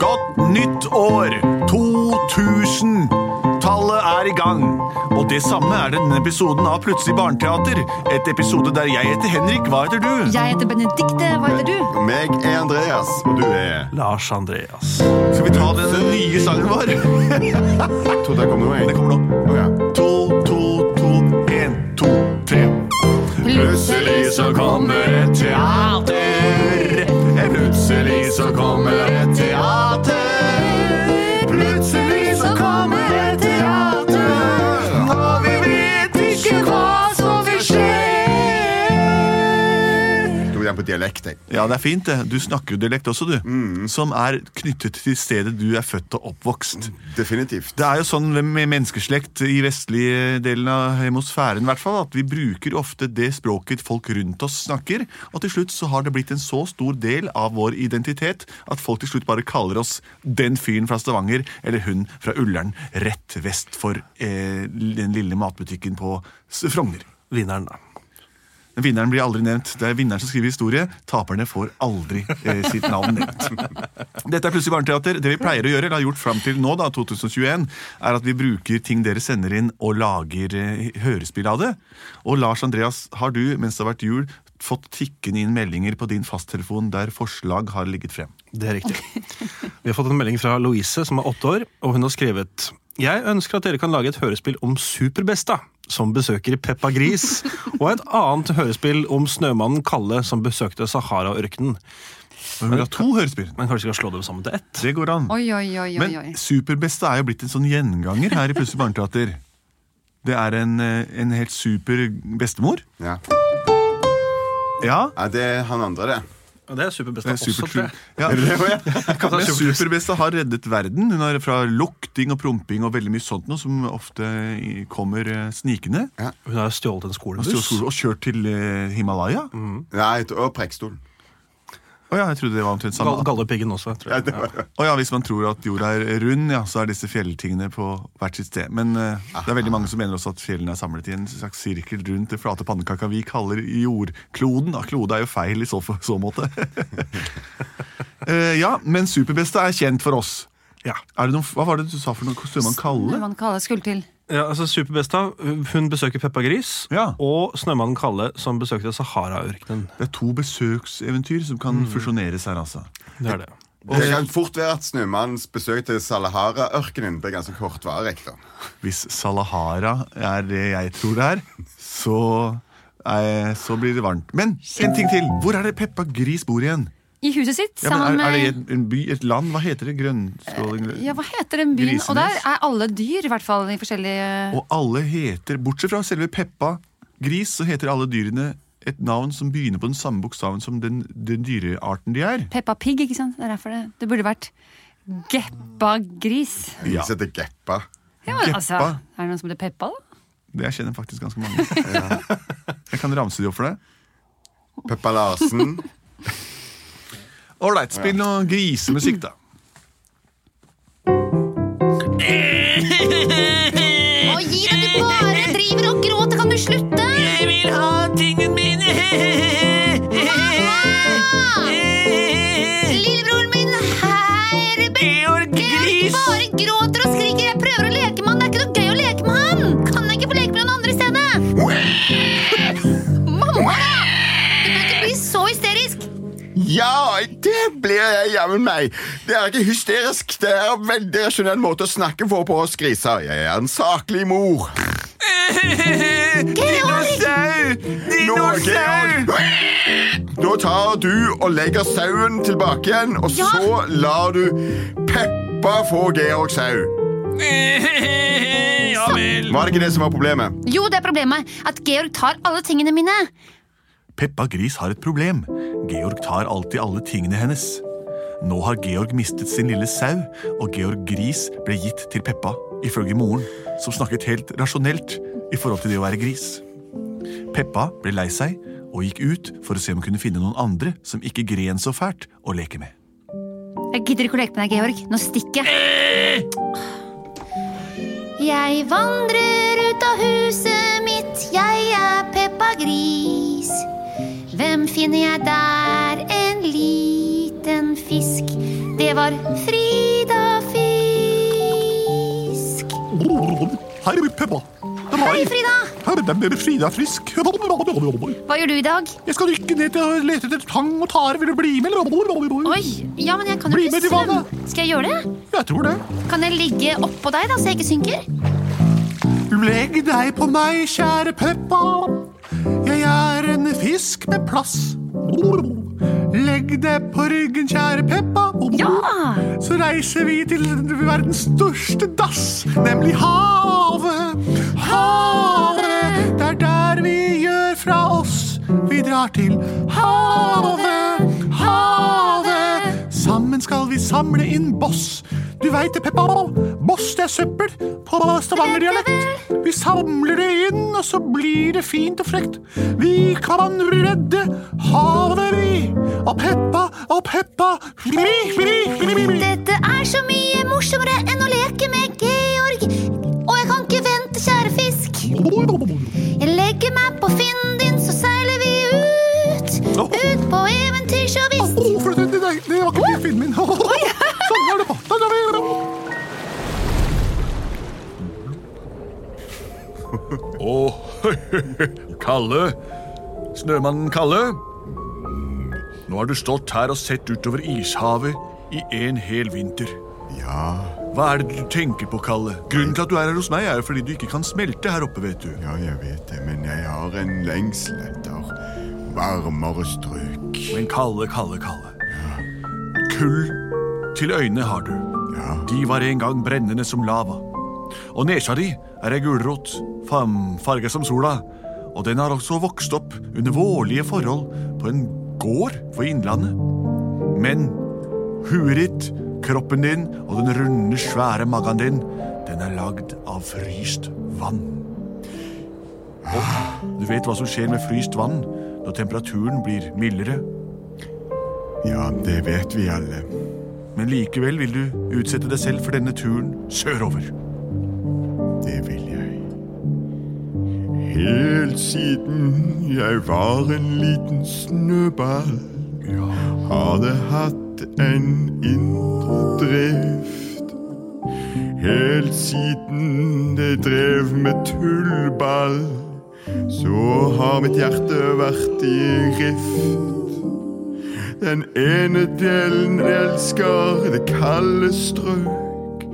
Godt nytt år! 2000! Tallet er i gang. Og det samme er denne episoden av Plutselig barneteater. Et episode der jeg heter Henrik. Hva heter du? Jeg heter Benedikte, hva heter du? Og Meg er Andreas, og du er Lars Andreas. Skal vi ta den nye sangen vår? Jeg trodde jeg kom nå, Det jeg. kommer nå. Å, ja. To, to, to, en, to, tre. Plutselig så kommer et teater. Plutselig så kommer et teater. Plutselig så kommer et teater. Og vi vet ikke hva som vil skje. Tok den på dialekt, jeg. Ja, det er fint det. Du snakker jo dialekt også, du. Mm. Som er knyttet til stedet du er født og oppvokst. Definitivt. Det er jo sånn med menneskeslekt i vestlige delen av hemosfæren i hvert fall, at vi bruker ofte det språket folk rundt oss snakker, og til slutt så har det blitt en så stor del av vår identitet at folk til slutt bare kaller oss den fyren fra Stavanger eller hun fra Ullern rett vest for eh, den lille matbutikken på S- Frogner. Vinneren, da. Vinneren blir aldri nevnt. Det er vinneren som skriver historie. Taperne får aldri eh, sitt navn nevnt. Dette er Plutselig barneteater. Det vi pleier å gjøre, eller har gjort fram til nå, da, 2021, er at vi bruker ting dere sender inn, og lager eh, hørespill av det. Og Lars Andreas, har du, mens det har vært jul, fått tikkende inn meldinger på din fasttelefon der forslag har ligget frem? Det er riktig. Vi har fått en melding fra Louise, som er åtte år, og hun har skrevet Jeg ønsker at dere kan lage et hørespill om Superbesta, som besøker Peppa Gris, og et annet hørespill om snømannen Kalle, som besøkte Sahara-ørkenen. Men vi har to hørespill. Men kanskje vi skal slå dem sammen til ett? Det går an. Oi, oi, oi, oi, oi. Men Superbeste er jo blitt en sånn gjenganger her i Plutselig barneteater. Det er en, eh, en helt super bestemor. Ja. Ja. ja, det er han andre, det. Og det er Superbesta det er også, Super tror jeg. Ja. Er det det også, ja? Kan ta Men Super- Superbesta har reddet verden. Hun har fra lukting og promping og veldig mye sånt noe som ofte i- kommer eh, snikende. Hun har stjålet en Og stjålet skolebuss. sol- og kjørt til eh, Himalaya. Mm. Å Nei, og Preikstolen. ja, jeg trodde det var omtrent Gal- samme. Galdhøpiggen også, tror jeg. Å ja, Hvis man tror at jorda er rund, ja, så er disse fjelltingene på hvert sitt sted. Men eh, Ah. det er veldig mange som mener også at fjellene er samlet i en slags sirkel rundt det flate pannekaka vi kaller jordkloden. Ja, klode er jo feil i så, f- så måte. Eh, ja, men Superbesta er kjent for oss. Ja. Er det noen, hva var det du sa for noe kostyme man kaller? Hva man kaller skulle til. Ja, altså Superbesta hun besøker Peppa Gris, Ja. og snømannen Kalle, som besøkte Sahara-ørkenen. Det er to besøkseventyr som kan fusjoneres her, altså. Det er det. Det kan fort være at snømannens besøk til Salahara-ørkenen blir ganske kortvarig. da. Hvis Salahara er det jeg tror det er, så, eh, så blir det varmt. Men en ting til! Hvor er det Peppa Gris bor igjen? I huset sitt, Ja, men sammen Eh, er, er det i med et, en by, et land? Hva heter det? Grønnskåling? ja, hva heter den byen? Og der Grisenes. er alle dyr, i hvert fall. I forskjellige Og alle heter, bortsett fra selve Peppa Gris, så heter alle dyrene et navn som begynner på den samme bokstaven som den, den dyrearten de er. Peppa Pig, ikke sant? Det er derfor det. Det burde vært Geppa Gris. Ja. Ja, Så det geppa. Ja, men altså, Geppa. er det noen som heter Peppa, da? det Jeg kjenner faktisk ganske mange. Jeg kan ramse de opp for deg. Peppa Larsen. Ålreit, spill noe grisemusikk, da. Og gir at du bare driver og gråter, kan du slutte? Jeg vil ha tingen min. Lillebroren min her Georg Gris. Bare gråter og skriker. Jeg prøver å leke med han. Det er ikke noe gøy å leke med han. Kan jeg ikke få leke med noen andre i stedet? Mamma! Du bør ikke bli så hysterisk. Ja, det blir jeg jammen meg. Det er ikke hysterisk. Det er en veldig rasjonell måte å snakke på på oss griser. Jeg er en saklig mor. Dinosaur! Georg. Da tar du og legger sauen tilbake igjen, og Ja. så lar du Peppa få Georg sau. Ja vel. Var det ikke det som var problemet? Jo, det er problemet at Georg tar alle tingene mine. Peppa Gris har et problem. Georg tar alltid alle tingene hennes. Nå har Georg mistet sin lille sau, og Georg Gris ble gitt til Peppa, ifølge moren, som snakket helt rasjonelt i forhold til det å være gris. Peppa ble lei seg og gikk ut for å se om hun kunne finne noen andre som ikke gren så fælt å leke med. Jeg gidder ikke å leke med deg, Georg. Nå stikker Eh. jeg. Jeg vandrer ut av huset mitt, jeg er Peppa Gris. Hvem finner jeg der? En liten fisk. Det var Frida Fisk. Her er Peppa. Det er meg. Hei, Frida! Her er den Frida Frisk. Jeg Hva gjør du i dag? skal rykke ned til å lete etter tang og tare. Vil du bli med? Oi, ja, men jeg kan jo Bli ikke med i svømme. vannet. Skal jeg gjøre det? Jeg tror det. Kan jeg ligge oppå deg, da, så jeg ikke synker? Legg deg på meg, kjære Peppa. Jeg er en fisk med plass. Legg deg på ryggen, kjære Peppa. Ja! Så reiser vi til verdens største dass, nemlig havet. Havet, det er der vi gjør fra oss. Vi drar til havet, havet. Sammen skal vi samle inn boss. Du veit det, Peppa. Boss, det er søppel på stavangerdialekt. Vi samler det inn, og så blir det fint og frekt. Vi kan redde havet, vi. Og Peppa og Peppa. Vi, vi, vi, vi. Dette er så mye morsommere enn å leke med Georg. Og jeg kan ikke vente, kjære fisk. Jeg legger meg på finnen din, så seiler vi ut. Ut på eventyr, så visst. Å, for det, det, det, det var ikke filmen min. Sånn var det på. Sånn var det på. Og Kalle, snømannen Kalle. Nå har du stått her og sett utover ishavet i en hel vinter. Ja, Hva er det du tenker på, Kalle? Grunnen til at du er her hos meg, er jo fordi du ikke kan smelte her oppe, vet du. ja, jeg vet det, men jeg har en lengsel etter varmere strøk. Men Kalle, Kalle, Kalle. Kull til øynene har du. Ja, De var en gang brennende som lava. Og nesa di er ei gulrot, fam- farga som sola. Og den har også vokst opp under vårlige forhold på en gård for Innlandet. Men huet ditt, kroppen din og den runde, svære magen din, den er lagd av fryst vann. Og du vet hva som skjer med fryst vann når temperaturen blir mildere. ja, det vet vi alle. Men likevel vil du utsette deg selv for denne turen sørover. Det vil jeg. Helt siden jeg var en liten snøball, har det hatt en indre drift. Helt siden det drev med tullball, så har mitt hjerte vært i rift. Den ene delen elsker det kalde strøk.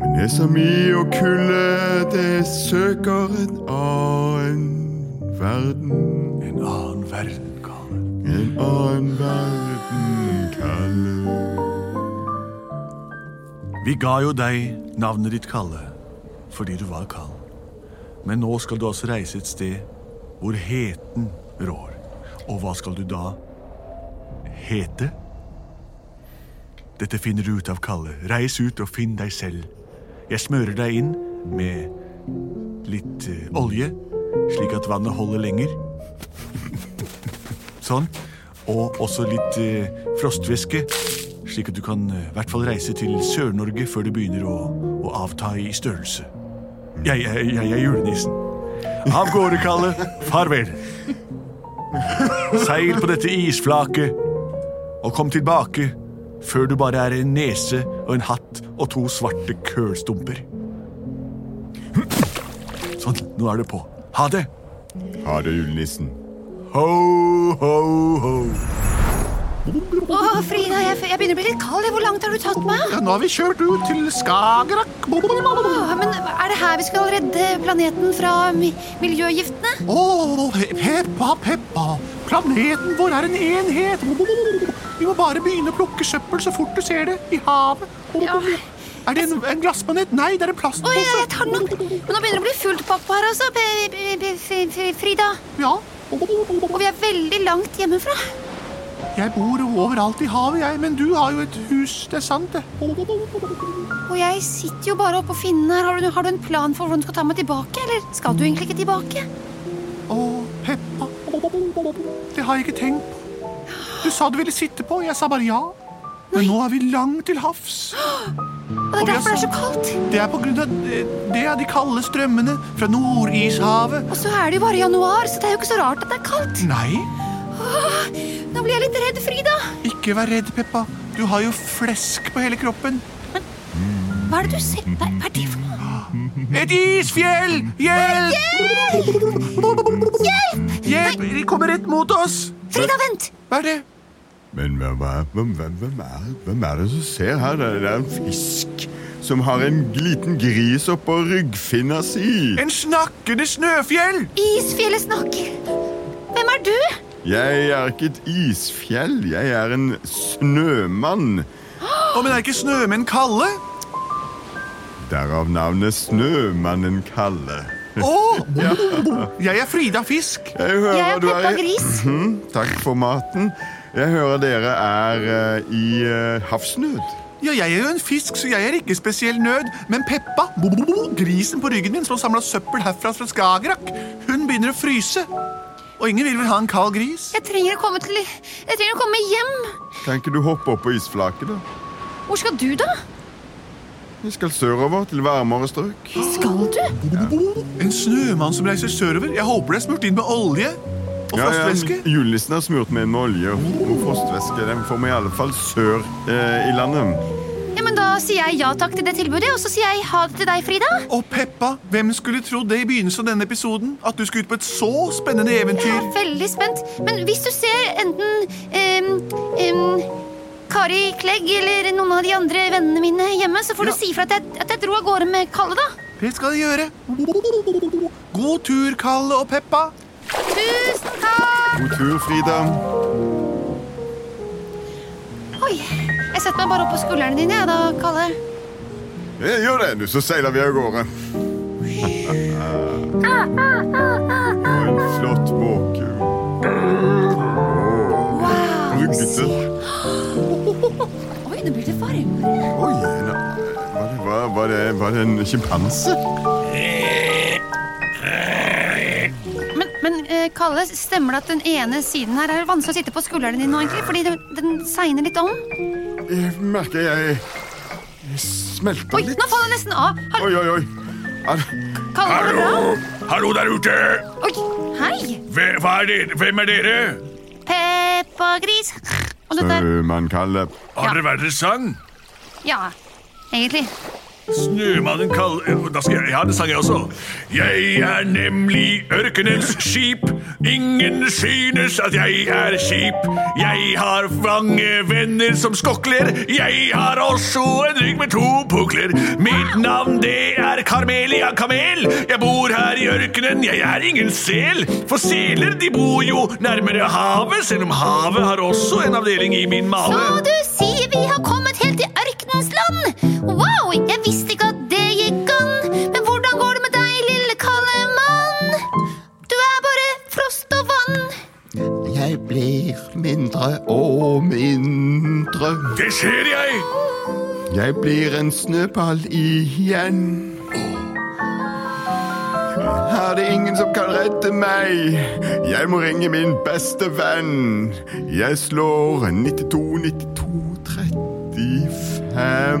Men det som i og kulde, det søker en annen verden. En annen verden, Kalle. En annen verden kaller Vi ga jo deg navnet ditt, Kalle, fordi du var kald. Men nå skal du altså reise et sted hvor heten rår. Og hva skal du da hete? Dette finner du ut av, Kalle. Reis ut og finn deg selv. Jeg smører deg inn med litt eh, olje, slik at vannet holder lenger. Sånn. Og også litt eh, frostvæske, slik at du kan eh, i hvert fall reise til Sør-Norge før du begynner å, å avta i størrelse. Jeg, jeg, jeg er julenissen. Av gårde, Kalle. Farvel. Seil på dette isflaket, og kom tilbake før du bare er en nese og en hatt og to svarte kølstumper. Sånn, nå er det på. Ha det! Ha det, julenissen. Ho, ho, ho. Å, Frida, jeg, jeg begynner å bli litt kald. Hvor langt har du tatt meg? Ja, nå har vi kjørt ut til Skagerrak. Å, Å, men er det her vi skal redde planeten fra mi miljøgiftene? Peppa, Peppa. Planeten vår er en enhet. Vi må bare begynne å plukke søppel så fort du ser det. I havet. Ja. Er det en, en glassmanet? Nei, det er en Å, ja, plastpose. jeg tar den opp. Men nå begynner det å bli fullt pakk her, altså, P- P- P- Frida. Ja. Og vi er veldig langt hjemmefra. Jeg bor overalt i havet, jeg, men du har jo et hus. Det er sant, det. Og jeg sitter jo bare oppå finnen her. Har du, har du en plan for hvordan du skal ta meg tilbake, eller skal du egentlig ikke tilbake? Å, Peppa. Det har jeg ikke tenkt på. Du sa du ville sitte på, jeg sa bare ja. Men nå er vi langt til havs. Og Og det vi er derfor det er har så kaldt. Det er på grunn av det, det er de kalde strømmene fra Nordishavet. Og så er det jo bare januar, så det er jo ikke så rart at det er kaldt. Nei, Åh, nå blir jeg litt redd, Frida. ikke vær redd, Peppa. Du har jo flesk på hele kroppen. Hva er det du ser? Hva hva er det for noe? Et isfjell! Hjelp! Hjelp! Hjelp! De kommer rett mot oss. Frida, vent! Hva er det? Men hvem er, hvem, hvem, hvem, er, hvem er det som ser her? Det er- det er en fisk som har en liten gris oppå ryggfinna si. En snakkende snøfjell! Isfjellet snakker. Hvem er du? Jeg er ikke et isfjell, jeg er en snømann. Å, men er ikke snømenn kalde? Derav navnet Snømannen Kalle. Å! Jeg er Frida Fisk. Jeg hører Jeg er du Peppa i- Gris. Mhm, takk for maten. Jeg hører dere er eh, i eh, havsnød. Ja, jeg er jo en fisk, så jeg er ikke spesiell nød. Men Peppa, grisen på ryggen min som har samla søppel herfra fra Skagerrak, hun begynner å fryse. Og ingen vil vel ha en kald gris? Jeg trenger å komme til Jeg trenger å komme hjem. Kan ikke du hoppe opp på isflaket, da? Hvor skal du, da? Vi skal sørover til varmere strøk. Skal du? En snømann som reiser sørover? Jeg håper det er smurt inn med olje og frostvæske. Julenissen har smurt meg inn med olje og og frostvæske. Den får vi i alle fall sør eh, i landet. Ja, men Da sier jeg ja takk til det tilbudet, og så sier jeg ha det til deg, Frida. Og Peppa, hvem skulle trodd det i begynnelsen av denne episoden? At du skulle ut på et så spennende Jeg eventyr? er veldig spent. Men hvis du ser enten em, em, Kari Klegg eller noen av de andre vennene mine hjemme, så får Ja. du si ifra at, jeg- at jeg dro av gårde med Kalle, da. Det skal de gjøre. God tur, Kalle og Peppa. Tusen takk! God tur, Frida. Oi, jeg setter meg bare opp på skuldrene dine, jeg da, Kalle. Jeg Eh, gjør det, du, så seiler vi av gårde. Og en flott måke. Wow, Ruggete. Oi, nå blir det varmere. Oi, en, var, det, var, var, det, var det en sjimpanse? Men, men eh, Kalle, stemmer det at den ene siden her er vanskelig å sitte på skuldrene dine nå, egentlig? Fordi den, den segner litt om? Jeg Eh, merker jeg, jeg smelter Oi, litt. nå faller jeg nesten av! Har, Oi, oi, oi. Er, Kalle, går det bra? Hallo der ute! Oi, hei! Hve- hva er dere? Hvem er dere? Peppa Gris. Og dette er Øh, man kaller Har dere hver deres sang? Ja, egentlig. Snømannen kall... Eh, Da skal jeg, ja, det sang jeg også. Jeg er nemlig ørkenens skip. Ingen synes at jeg er skip. Jeg har mange venner som skokler. Jeg har også en rygg med to pukler. Mitt navn det er Carmelia Kamel. Jeg bor her i ørkenen, jeg er ingen sel. For seler de bor jo nærmere havet, selv om havet har også en avdeling i min mage. Så du sier vi har kommet helt til ørkenens land? Wow, jeg visste ikke at det gikk an. Men hvordan går det med deg, lille kalde mann? Du er bare frost og vann. Jeg blir mindre og mindre. Det ser jeg! Jeg blir en snøball igjen. Her er det ingen som kan redde meg. Jeg må ringe min beste venn. Jeg slår 92 92 35.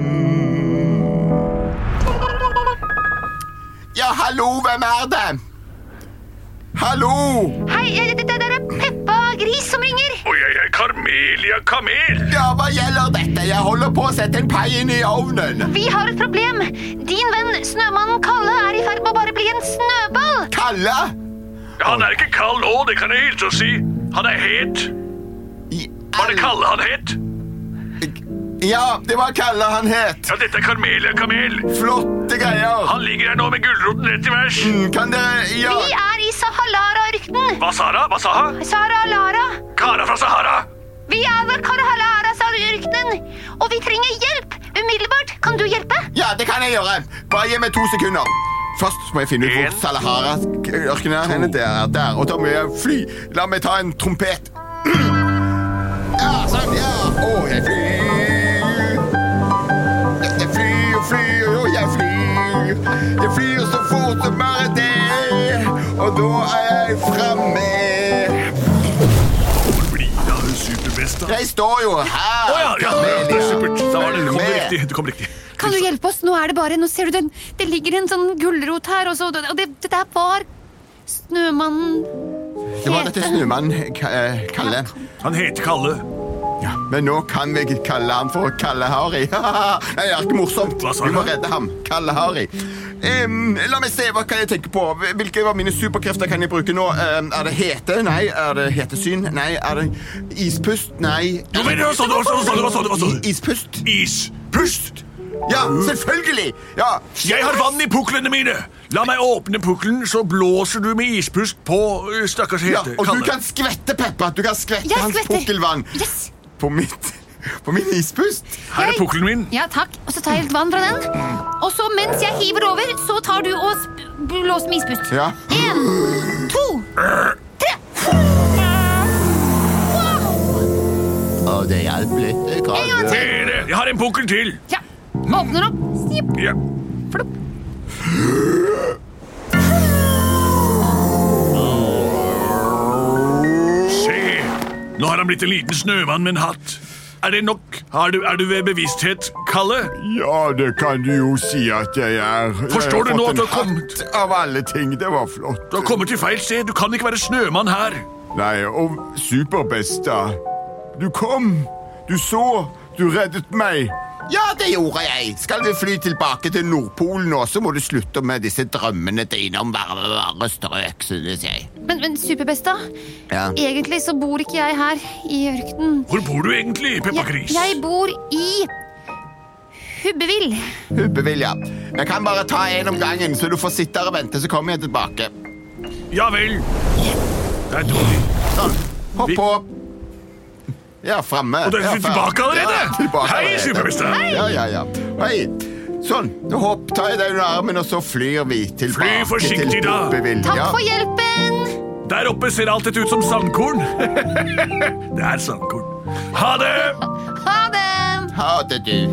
Ja, hallo, hvem er det? Hallo! Hei, eh, det det der er Peppa Gris som ringer. Og jeg er Carmelia Kamel. Ja, hva gjelder dette? Jeg holder på å sette en pai inn i ovnen. Vi har et problem. Din venn snømannen Kalle er i ferd med å bare bli en snøball. Kalle? Han er ikke kald nå, det kan jeg hilse og si. Han er het. I Var det all- Kalle han het? Ja, det var Kalle han het. Ja, dette er Carmelia Kamel. Flotte greier. Han ligger her nå med gulroten rett i vers. Mm, Kan dere Ja. Vi er i Sahalara-ørkenen. Hva sa han? Hva sa han? Sahara Lara. Kara fra Sahara. Vi er ved Karahalaras-ørkenen, og vi trenger hjelp umiddelbart. Kan du hjelpe? ja, det kan jeg gjøre. Bare gi meg to sekunder. Først må jeg finne ut hvor En. Salahara-ørkenen er. henne. Der, der. Og da må jeg fly. La meg ta en trompet. Ja, sånn, ja. Å, jeg flyr. Jeg flyr og flyr, og jeg flyr. Jeg flyr så fort som bare det, og da er jeg framme. Blida er superbest, da. Jeg står jo her. Å ja, ja, det er Amelia. supert. Da var det, kom det Med. riktig. Det kom riktig. Kan du hjelpe oss? Nå er det bare Nå ser du den Det ligger en sånn gulrot her, og så Og det, det der var Snømannen Det var dette snømannen Ka- eh, Kalle. Han heter Kalle. Men nå kan vi ikke kalle ham for Kalle-Harry. Nei, det er ikke morsomt. Hva sa Vi må du? redde ham. Kalle-Harry. Em, la meg se, hva kan jeg tenke på? Hvilke av mine superkrefter kan jeg bruke nå? Em, er det hete? Nei. Er det hetesyn? Nei. Er det ispust? Nei. Jo, men hva sa du? Hva sa du? Hva sa du? Hva sa du? Hva sa I- du? Ispust? Is. Pust. Ja, selvfølgelig! Ja. Jeg har vann i puklene mine! La meg åpne pukkelen, så blåser du med ispust på ø, stakkars ja, hete. og du Kalle. kan skvette, Peppa. Du kan skvette Jeg hans skvetter. pukkelvann Yes på mitt På min ispust. Her er pukkelen min. Ja, takk Og så tar jeg litt vann fra den Og så mens jeg hiver over Så tar du og sp- blåser med ispust Ja. En, to Og det hjalp litt. gang til. Dere, jeg har en pukkel til. Ja Åpner opp Snipp Ja. Flopp Se, nå har han blitt en liten snømann med en hatt. Er det nok? Har du, er du ved bevissthet, Kalle? Ja, det kan du jo si at jeg er. Forstår du Jeg har nå fått at du en har kommet? hatt Av alle ting, det var flott. Du har kommet til feil sted. Du kan ikke være snømann her. Nei, og superbesta. Du kom, du så, du reddet meg. Ja, det gjorde jeg. Skal vi fly tilbake til Nordpolen nå, så må du slutte med disse drømmene dine om varme, varme strøk, synes jeg. Men, men superbesta Ja. Egentlig så bor ikke jeg her I ørkenen Hvor bor du egentlig, Peppa jeg, Gris? jeg bor i Hubbevill Hubbevilja. Jeg kan bare ta en om gangen, så du får sitte her og vente, så kommer jeg tilbake. Ja vel. Der dro de. Sånn. Hopp Vi- på. Jeg er framme. Og da Jeg er vi ferdig. tilbake allerede? Ja, tilbake Hei, allerede. superbesta. Hei. Ja, ja, ja. Hei. Sånn. Nå hopp, tar jeg deg under armen, og så flyr vi tilbake forsiktig, til da. Bobbevilja. Takk for hjelpen Der oppe ser alt dette ut som sandkorn. det er sandkorn. Ha det! Ha det Ha det, du.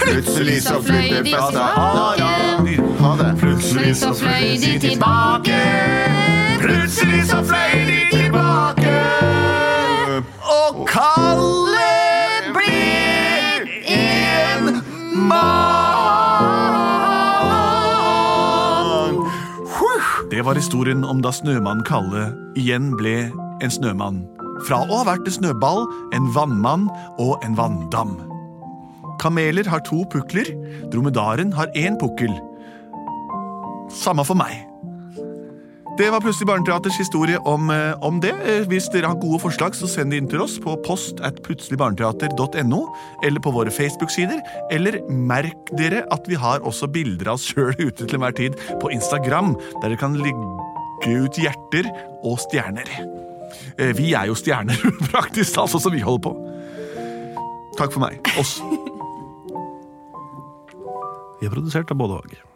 Plutselig så fløy de tilbake. Ha det. Plutselig så fløy de tilbake. Plutselig så fløy de tilbake. Og Kalle blir en mann. Det var historien om da snømannen Kalle igjen ble en snømann. Fra å ha vært en snøball, en vannmann og en vanndam. Kameler har to pukler, dromedaren har én pukkel. Samme for meg. Det var plutselig Barneteaters historie om, eh, om det. Eh, Hvis dere har gode forslag, så send de inn til oss på post at plutseligbarneteater.no, eller på våre Facebook-sider, eller merk dere at vi har også bilder av oss sjøl ute til enhver tid på Instagram, der dere kan legge ut hjerter og stjerner. Eh, Vi er jo stjerner, praktisk talt, sånn som vi holder på. Takk for meg. Oss. Vi er produsert av både og.